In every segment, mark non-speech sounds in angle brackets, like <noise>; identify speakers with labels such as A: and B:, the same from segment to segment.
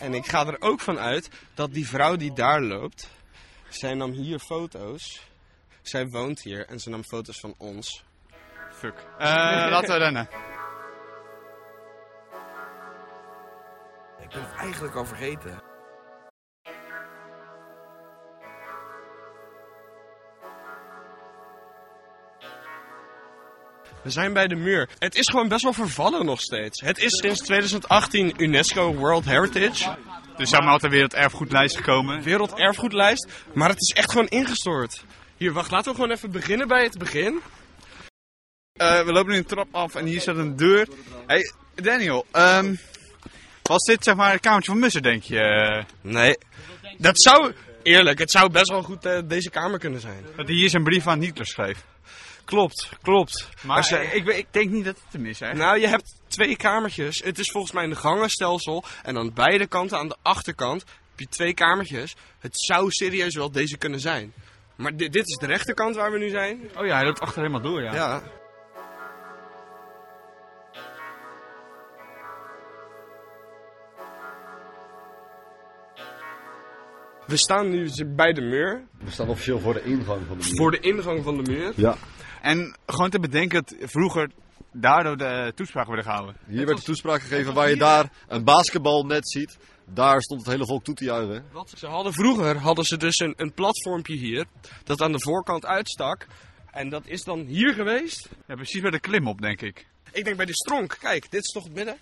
A: En ik ga er ook van uit dat die vrouw die daar loopt, zij nam hier foto's. Zij woont hier en ze nam foto's van ons.
B: Fuck. Eh, laten we rennen.
C: Ik ben het eigenlijk al vergeten.
A: We zijn bij de muur. Het is gewoon best wel vervallen nog steeds. Het is sinds 2018 UNESCO World Heritage,
B: Dus zijn we altijd weer op het erfgoedlijst gekomen.
A: werelderfgoedlijst, maar het is echt gewoon ingestort. Hier, wacht, laten we gewoon even beginnen bij het begin.
B: Eh, we lopen nu een trap af en hier staat een deur. Hey, Daniel, ehm, was dit zeg maar het kamertje van Musser, denk je? eh,
A: Nee, dat zou, eerlijk, het zou best wel goed eh, deze kamer kunnen zijn.
B: Dat hij hier zijn brief aan Hitler schreef.
A: Klopt, klopt.
B: Maar
A: Als je-
B: eh, ik, weet- ik denk niet dat het hem is, hè?
A: Nou, je hebt twee kamertjes. Het is volgens mij een gangenstelsel. En aan beide kanten, aan de achterkant, heb je twee kamertjes. Het zou serieus wel deze kunnen zijn. Maar dit, dit is de rechterkant waar we nu zijn.
B: Oh ja, hij loopt achter helemaal door, ja.
A: Ja. We staan nu bij de muur.
D: We staan officieel voor de ingang van de muur.
A: Voor de ingang van de muur.
D: Ja,
B: En gewoon te bedenken dat vroeger daardoor de toespraak werd gehouden.
D: hier werd de toespraak gegeven waar je daar een basketbalnet ziet. Daar stond het hele volk toe te juichen.
A: Wat ze hadden vroeger hadden ze dus een, een platformpje hier dat aan de voorkant uitstak. En dat is dan hier geweest.
B: Ja, precies bij de klim op, denk ik.
A: Ik denk bij de stronk. Kijk, dit is toch het midden?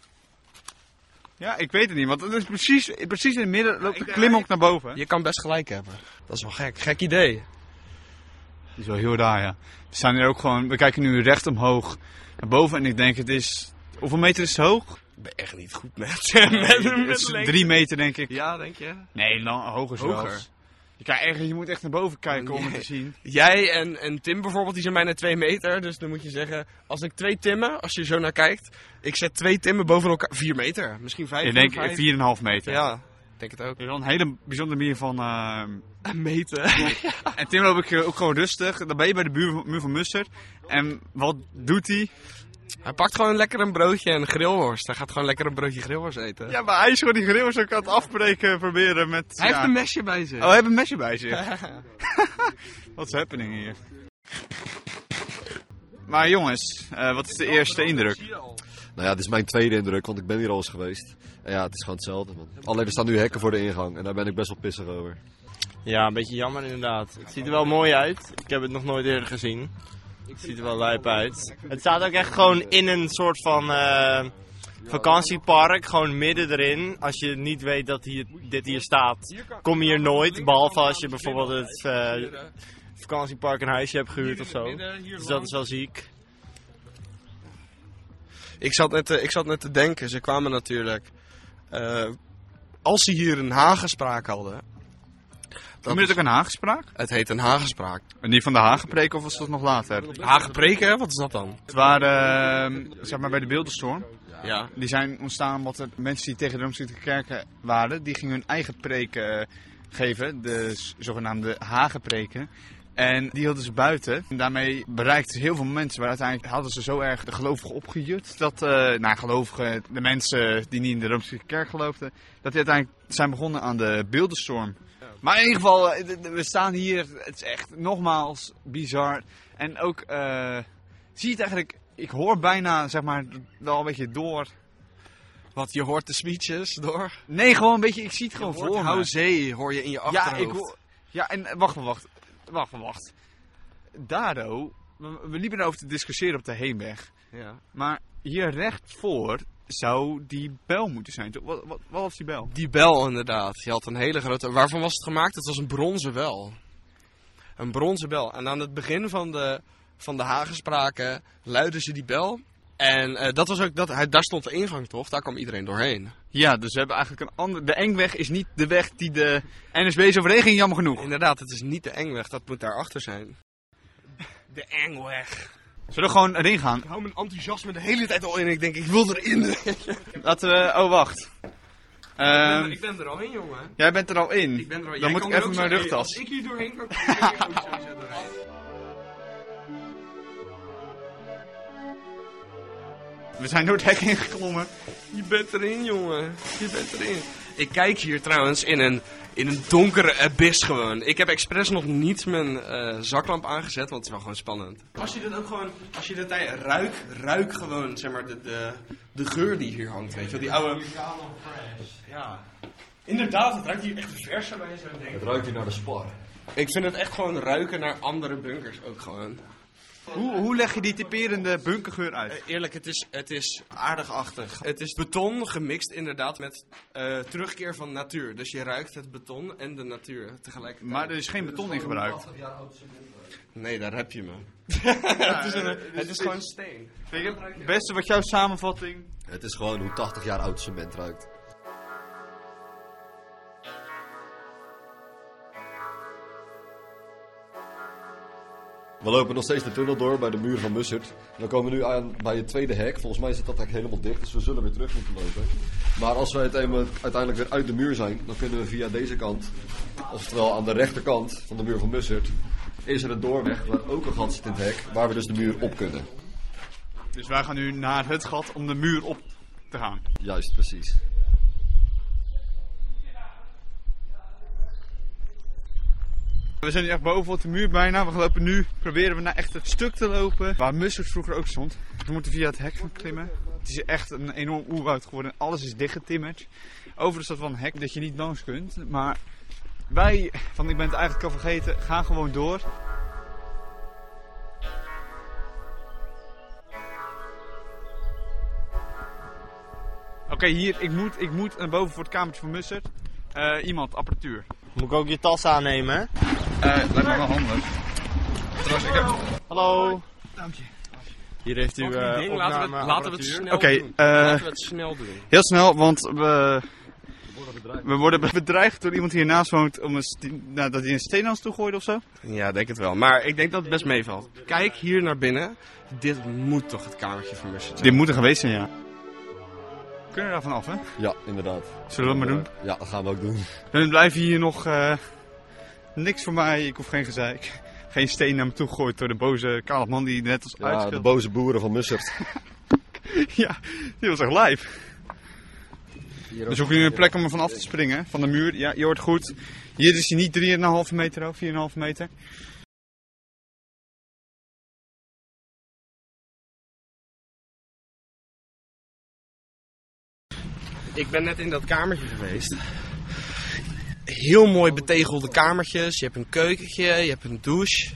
B: Ja, ik weet het niet, want het is precies, precies in het midden loopt de klim ook naar boven.
A: Je kan best gelijk hebben. Dat is wel gek. Gek idee.
B: Dat is wel heel raar, ja. We staan hier ook gewoon, we kijken nu recht omhoog naar boven en ik denk het is... Hoeveel meter is het hoog?
A: Ik ben echt niet goed met, <laughs> met, met,
B: Het is
A: lengte.
B: drie meter, denk ik.
A: Ja, denk je?
B: Nee, lang, hoger zelfs.
A: Hoger.
B: Je, kan ergens, je moet echt naar boven kijken om het te zien.
A: Jij en, en Tim bijvoorbeeld, die zijn bijna twee meter. Dus dan moet je zeggen, als ik twee timmen, als je zo naar kijkt. Ik zet twee timmen boven elkaar. Vier meter. Misschien vijf.
B: Ik denk
A: vijf.
B: 4,5 meter.
A: Ja, ik denk het ook. <laughs>
B: Dat is wel een hele bijzondere manier van... eh,
A: Meten.
B: En Tim loop ik eh, ook gewoon rustig. Dan ben je bij de buur, muur van Mustard. En wat doet hij?
A: Hij pakt gewoon lekker een broodje en een grillworst. Hij gaat gewoon lekker een broodje grillworst eten.
B: Ja, maar hij is gewoon die grill zo kan het afbreken proberen met...
A: Hij heeft een mesje bij zich.
B: Oh, hij heeft een mesje bij zich. <laughs> wat is happening hier? Maar jongens, eh, wat is de eerste indruk?
D: Nou ja, dit is mijn tweede indruk, want ik ben hier al eens geweest. En ja, het is gewoon hetzelfde. Man. Alleen er staan nu hekken voor de ingang en daar ben ik best wel pissig over.
E: Ja, een beetje jammer inderdaad. Het ziet er wel mooi uit. Ik heb het nog nooit eerder gezien. Het ziet er wel lijp uit. Het staat ook echt gewoon in een soort van eh, vakantiepark, gewoon midden erin. Als je niet weet dat hier, dit hier staat, kom je hier nooit. Behalve als je bijvoorbeeld het eh, vakantiepark een huisje hebt gehuurd of zo. Dus dat is wel ziek.
A: Ik zat, net te, ik zat net te denken, ze kwamen natuurlijk. eh, als ze hier een hagespraak hadden.
B: Noem je dit ook een Haagspraak?
A: Het heet een hagespraak.
B: Die van de Hagenpreek of was dat nog later?
A: Hagepreken, wat is dat dan?
B: Het waren, eh, zeg maar bij de beeldenstorm.
A: Ja.
B: Die zijn ontstaan omdat er mensen die tegen de Rooms-Katholieke kerken eh, waren, die gingen hun eigen preken eh, geven, de s- zogenaamde hagenpreken. En die hielden ze buiten. En daarmee bereikten ze heel veel mensen. Maar uiteindelijk hadden ze zo erg de gelovigen opgejut. Dat, eh nou gelovigen, de mensen die niet in de Rooms-Katholieke kerk geloofden. Dat die uiteindelijk zijn begonnen aan de beeldenstorm. Maar in ieder geval, eh, d- d- we staan hier. Het is echt nogmaals bizar. En ook, eh, zie je het eigenlijk... Ik hoor bijna, zeg maar, wel een beetje door
A: Wat, je hoort de speeches door?
B: Nee, gewoon een beetje, ik zie het
A: Je
B: gewoon
A: hoort
B: voor me.
A: Houzee hoor je in je
B: Ja,
A: achterhoofd.
B: ik hoor... Ja, en eh, wacht, maar, wacht, wacht, maar, wacht. Daardoor, we, we liepen erover te discussiëren op de heenweg.
A: Ja.
B: Maar hier recht voor zou die bel moeten zijn. toch? Wat, wat, wat was die bel?
A: Die bel inderdaad, die had een hele grote... Waarvan was het gemaakt? Het was een bronzen bel. Een bronzen bel. En aan het begin van de, van de hagespraken luidden ze die bel. En eh, dat was ook, dat, hij- daar stond de ingang toch? Daar kwam iedereen doorheen.
B: Ja, dus we hebben eigenlijk een andere... De Engweg is niet de weg die de NSB is overheen jammer genoeg.
A: Inderdaad, het is niet de engweg, dat moet daarachter zijn. De engweg.
B: Zullen we gewoon erin gaan?
A: Ik hou mijn enthousiasme de hele tijd al in. Ik denk, ik wil erin.
B: Laten we... Oh, wacht. Ehm,
A: ben er al in, jongen.
B: jij bent er al in. Dan moet ik even mijn rugtas.
A: ik hier doorheen kan, dan ik ook zo doorheen.
B: We zijn door het hek ingeklommen. <laughs>
A: Je bent erin, jongen. Je bent erin. Ik kijk hier trouwens in een, in een donkere abyss gewoon. Ik heb expres nog niet mijn eh, zaklamp aangezet, want het is wel gewoon spannend. Als je dit ook gewoon, als je dit tij- ruik, ruik gewoon, zeg maar, de, de, de geur die hier hangt, weet je wel. Die oude... Ja. Inderdaad, het ruikt hier echt verser bij zo'n ding.
D: ruikt hier naar de spar.
A: Ik vind het echt gewoon ruiken naar andere bunkers ook gewoon.
B: Hoe, hoe leg je die typerende bunkergeur uit?
A: Eh, Eerlijk, het is, het is aardigachtig. Het is beton gemixt inderdaad met eh, terugkeer van natuur. Dus je ruikt het beton en de natuur tegelijkertijd.
B: Maar er is geen beton in gebruikt.
A: Nee, daar heb je me. het, is een-
B: Dus
A: het is gewoon steen.
B: Het beste wat jouw samenvatting.
D: Het is gewoon hoe 80 jaar oud cement ruikt. We lopen nog steeds de tunnel door bij de muur van Mussert. We komen nu aan bij het tweede hek. Volgens mij zit dat hek helemaal dicht, dus we zullen weer terug moeten lopen. Maar als we het eenmaal- uiteindelijk weer uit de muur zijn, dan kunnen we via deze kant, oftewel aan de rechterkant van de muur van Mussert, is er een doorweg waar ook een gat zit in het hek, waar we dus de muur op kunnen.
B: Dus wij gaan nu naar het gat om de muur op te gaan.
D: Juist, precies.
B: We zijn nu echt boven op de muur bijna. We lopen nu, proberen we naar echt het stuk te lopen. Waar Mussert vroeger ook stond. We moeten via het hek gaan klimmen. Het is echt een enorm oerwoud geworden. en Alles is dichtgetimmerd. Overigens is dat wel een hek dat je niet langs kunt. Maar wij, van ik ben het eigenlijk al vergeten, gaan gewoon door. Oké, hier, ik moet, ik moet naar boven voor het kamertje van Mussert. Eh, iemand, apparatuur.
E: Moet ik ook je tas aannemen? hè?
B: Eh, lijkt me wel handig. Trouwens, ik heb...
E: Hallo.
B: Dank je.
E: Hier heeft u
A: Fucking
E: eh
A: ding, laten we, het, laten we het
E: opnameapparatuur.
A: snel
B: Oké,
A: doen.
B: eh,
A: laten we het snel doen.
B: Heel snel, want we... We worden <laughs> be- bedreigd door iemand die hiernaast woont om een sti- nou, dat hij een steen aan ons toe gooide of zo.
A: Ja, denk het wel. Maar ik denk dat het best meevalt. Kijk hier naar binnen. Dit moet toch het kamertje van Mussert zijn.
B: Dit moet er geweest zijn, ja. We kunnen daar van af, hè?
D: Ja, inderdaad.
B: Zullen we dat maar doen?
D: Ja, dat gaan we ook doen.
B: Dan blijven hier nog eh, niks voor mij. Ik hoef geen gezeik. Geen steen naar me toe gegooid door de boze kale man die net als
D: Ja, de
B: uitschildt.
D: boze boeren van Mussert.
B: <laughs> Ja, die was echt Dus lijf. We zoeken nu een plek om er vanaf te springen, van de muur. Ja, je hoort goed. Hier is hij niet 3,5 meter hoog, 4,5 meter.
A: Ik ben net in dat kamertje geweest. Heel mooi betegelde kamertjes. Je hebt een keukentje, je hebt een douche.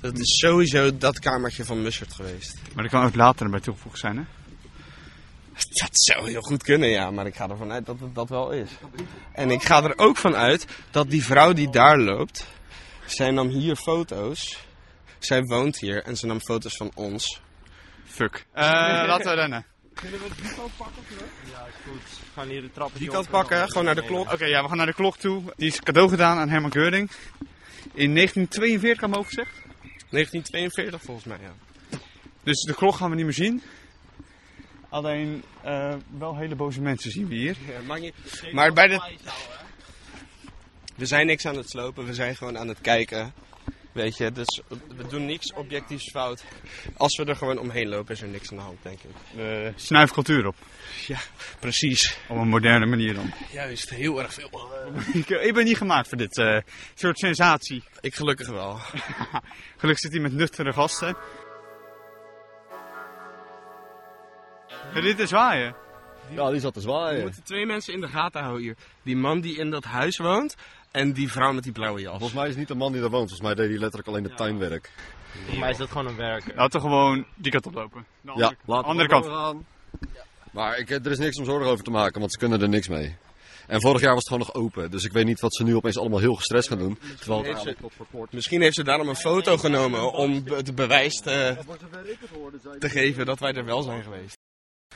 A: Dat is sowieso dat kamertje van Mussert geweest.
B: Maar dat kan ook later erbij toegevoegd zijn, hè?
A: Dat zou heel goed kunnen, ja. Maar ik ga ervan uit dat het dat wel is. En ik ga er ook van uit dat die vrouw die daar loopt... Zij nam hier foto's. Zij woont hier en ze nam foto's van ons.
B: Fuck. Eh, laten we rennen.
E: We gaan hier de trappen
A: Die kant pakken, gewoon naar de klok.
B: Oké, ja, we gaan naar de klok toe. Die is cadeau gedaan aan Herman Geuring. In 1942 kan me overzegd.
A: 1942 volgens mij, ja.
B: Dus de klok gaan we niet meer zien. Alleen eh, wel hele boze mensen zien we hier.
A: Maar bij de... We zijn niks aan het slopen, we zijn gewoon aan het kijken. Weet je, dus we doen niks objectiefs fout. Als we er gewoon omheen lopen is er niks aan de hand, denk ik.
B: We snuif cultuur op.
A: Precies.
B: Op een moderne manier dan. <laughs>
A: Juist, heel erg veel.
B: ik, ik ben niet gemaakt voor dit eh, soort sensatie.
A: Ik gelukkig wel.
B: Gelukkig zit hij met nuchtere gasten. Ja, dit is waaien.
D: Ja, die zat te
A: We
D: zwaaien.
A: moeten twee mensen in de gaten houden hier. Die man die in dat huis woont en die vrouw met die blauwe jas.
D: Volgens mij is het niet de man die daar woont. Volgens mij deed hij letterlijk alleen het tuinwerk.
E: Voor mij is dat gewoon een werker.
B: Laten we gewoon die kant oplopen. De
D: Ja,
B: andere,
D: laten we
B: andere
D: gewoon
B: kant.
D: gaan. Maar ik, eh, er is niks om zorgen over te maken, want ze kunnen er niks mee. En vorig jaar was het gewoon nog open, dus ik weet niet wat ze nu opeens allemaal heel gestrest gaan doen. Terwijl het
A: Heeft ze-
D: eigenlijk tot voor kort...
A: Misschien heeft ze daarom een foto genomen om be- het bewijs te, te geven dat wij er wel zijn geweest.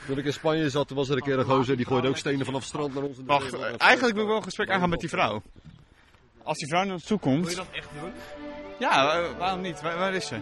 D: Toen ik in Spanje zat, toen was er een keer een gozer die gooide ook stenen vanaf het strand naar ons. in de
B: Wacht,
D: zee.
B: eh, eigenlijk wil ik wel een gesprek aangaan met die vrouw. Als die vrouw naar ons toe komt. Wil je dat echt doen? Ja, wa- waarom niet? Waar, waar is ze?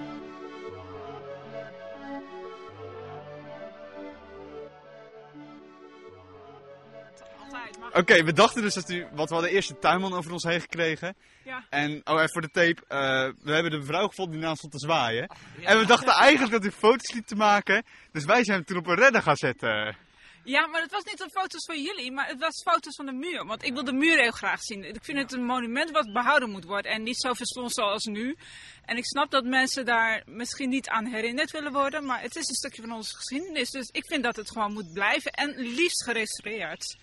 B: Oké, we dachten dus dat u. Want we hadden eerst de tuinman over ons heen gekregen.
F: Ja.
B: En, oh, even voor de tape. eh, we hebben de vrouw gevonden die naast stond te zwaaien. En we dachten eigenlijk dat u foto's liep te maken. Dus wij zijn hem toen op een redder gaan zetten.
F: Ja, maar het was niet op foto's van jullie, maar het was foto's van de muur. Want ik wil de muur heel graag zien. Ik vind het een monument wat behouden moet worden en niet zo verstopt zoals nu. En ik snap dat mensen daar misschien niet aan herinnerd willen worden, maar het is een stukje van onze geschiedenis. Dus ik vind dat het gewoon moet blijven en liefst gerestaureerd.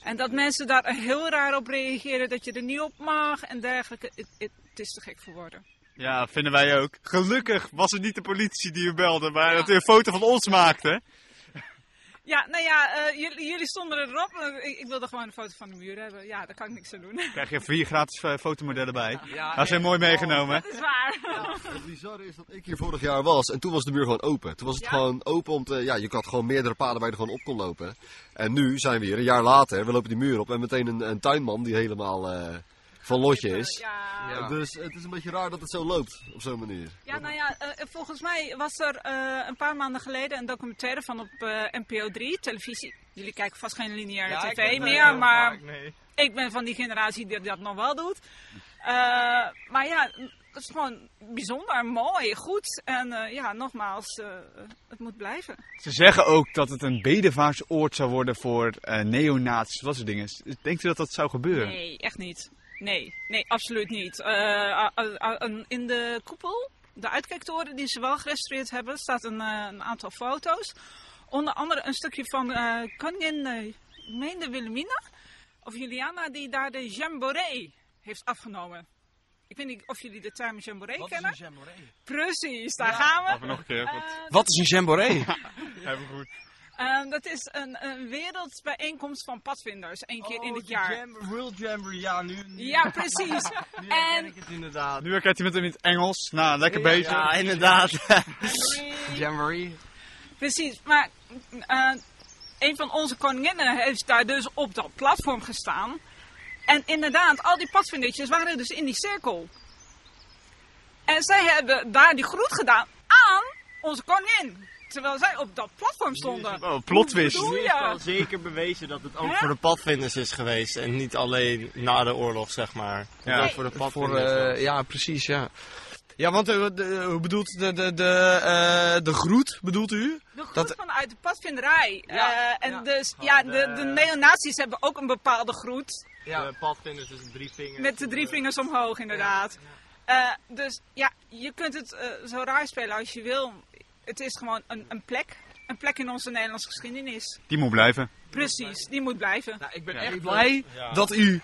F: En dat mensen daar heel raar op reageren, dat je er niet op mag en dergelijke. Het, het, het is te gek voor woorden.
E: Ja, vinden wij ook. Gelukkig was het niet de politie die u belde, maar dat u een foto van ons maakte.
F: Ja, nou ja, eh, jullie, jullie stonden erop. Eh, Ik, ik wilde gewoon een foto van de muur hebben. Ja, daar kan ik niks aan doen. <laughs>
B: Krijg je vier gratis eh, fotomodellen bij.
A: Ja,
B: Dat zijn mooi meegenomen.
F: Dat is waar.
D: Het bizarre is dat ik hier vorig jaar was en toen was de muur gewoon open. Toen was het
F: Ja?
D: gewoon open om te... Ja, je had gewoon meerdere paden waar je er gewoon op kon lopen. En nu zijn we hier, een jaar later, we lopen die muur op en meteen een, een tuinman die helemaal eh, van lotje is.
F: Ja.
A: Ja.
D: Dus het is een beetje raar dat het zo loopt, op zo'n manier.
F: Ja, nou ja, eh, volgens mij was er eh, een paar maanden geleden een documentaire van op eh, NPO 3, televisie. Jullie kijken vast geen lineaire tv meer, maar ik ben van die generatie die dat nog wel doet. Eh, maar ja, het is gewoon bijzonder, mooi, goed. En eh, ja, nogmaals, eh, het moet blijven.
B: Ze zeggen ook dat het een bedevaartsoord zou worden voor eh neonaties, dat soort dingen. Denkt u dat dat zou gebeuren?
F: Nee, echt niet. Nee, nee, absoluut niet. Eh, a- a- a- een- in de koepel, de uitkijktoren die ze wel gerestaureerd hebben, staat een, eh, een aantal foto's. Onder andere een stukje van eh koningin, eh, ik meen de Wilhelmina, of Juliana, die daar de jamboree heeft afgenomen. Ik weet niet of jullie de term jamboree kennen. Precies, daar gaan we.
E: Nog een keer.
F: Eh,
A: Wat is een jamboree?
E: Hebben we goed.
F: ehm, dat is een, een wereldbijeenkomst van padvinders, één keer in het jaar.
E: World Jamboree, ja, nu.
F: Ja, precies. en
E: het inderdaad.
B: Nu kijkt hij met hem in het Engels. Nou, lekker bezig.
E: Ja, inderdaad.
A: Jamboree.
F: Precies, maar eh, een van onze koninginnen heeft daar dus op dat platform gestaan. En inderdaad, al die padvindertjes waren dus in die cirkel. En zij hebben daar die groet gedaan aan onze koningin. Terwijl zij op dat platform stonden.
B: Oh, plot twist.
F: Hoe
E: Nu
F: bedoel
E: is
F: je?
E: wel zeker bewezen dat het ook
F: Hè?
E: voor de padvinders is geweest. En niet alleen na de oorlog, zeg maar.
B: Ja.
E: Ja, ook voor de
A: Voor,
E: padvinders.
A: eh, ja, precies, ja. Ja, want eh, de- hoe bedoelt de, de, de, eh, de groet, bedoelt u?
F: De groet
A: Dat-
F: vanuit de padvinderij.
A: Ja,
F: Eh, en
A: ja.
F: dus, ja,
E: de-
F: de, de neonazies hebben ook een bepaalde groet.
A: Ja.
E: De padvinders dus drie vingers. eh,
F: Met de drie vingers omhoog, inderdaad. Eh, dus ja, je kunt het eh, zo raar spelen als je wil. Het is gewoon een, een plek. Een plek in onze Nederlandse geschiedenis.
B: Die moet blijven.
F: Precies, die moet blijven.
A: Nou, ik ben echt blij
E: Ja.
A: dat, u,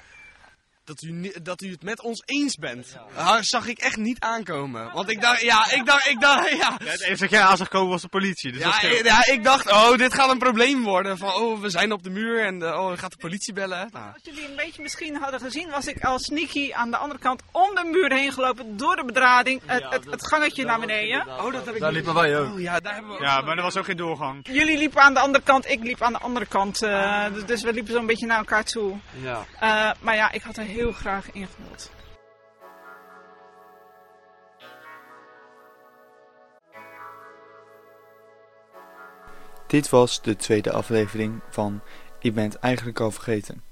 A: dat, u, ni- dat u het met ons eens bent. Daar zag ik echt niet aankomen. Want ik dacht, ja, ik dacht, ik dacht, ja.
B: Ja, het enige dat jij aan zag komen was de politie. Dus dat
A: Ja,
B: scheelt.
A: eh, ja, ik dacht, oh, dit gaat een probleem worden. Van, oh, we zijn op de muur en eh, oh, gaat de politie bellen. Nou,
F: Als jullie een beetje misschien hadden gezien, was ik al sneaky aan de andere kant om de muur heen gelopen. Door de bedrading, het, het, het gangetje naar beneden.
A: oh, dat heb ik
D: Daar liepen wij ook.
A: Oh, ja, daar hebben we ook-
B: Ja, maar er was ook geen doorgang.
F: Jullie liepen aan de andere kant, ik liep aan de andere kant. eh, dus- dus we liepen zo'n beetje naar elkaar toe.
A: Ah. Ja.
F: Eh, maar ja, ik had er heel graag in gewild.
G: Dit was de tweede aflevering van Ik ben het eigenlijk al vergeten.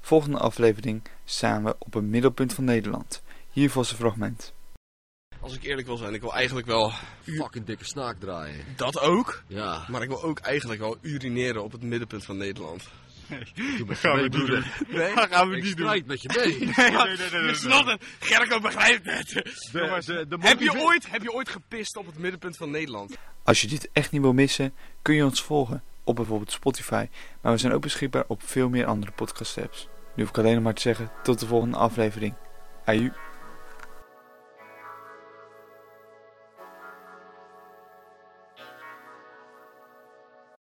G: Volgende aflevering staan we op het middelpunt van Nederland. Hier was een fragment.
A: Als ik eerlijk wil zijn, ik wil eigenlijk wel
D: Fucking dikke snaak draaien.
A: dat ook.
D: Ja,
A: Maar ik wil ook eigenlijk wel urineren op het middenpunt van Nederland.
D: doe met
B: Gaan we doen.
A: Nee?
B: Dat gaan we
D: Ik
B: niet doen.
D: strijd met je
B: <laughs>
D: mee.
B: nee, nee, nee, nee,
A: Je snapt het. Gerco begrijpt het.
B: Jongens,
A: Heb je, ooit, heb je ooit gepist op het middenpunt van Nederland?
G: Als je dit echt niet wil missen, kun je ons volgen op bijvoorbeeld Spotify, maar we zijn ook beschikbaar op veel meer andere podcast apps. Nu hoef ik alleen nog maar te zeggen tot de volgende aflevering. Aju.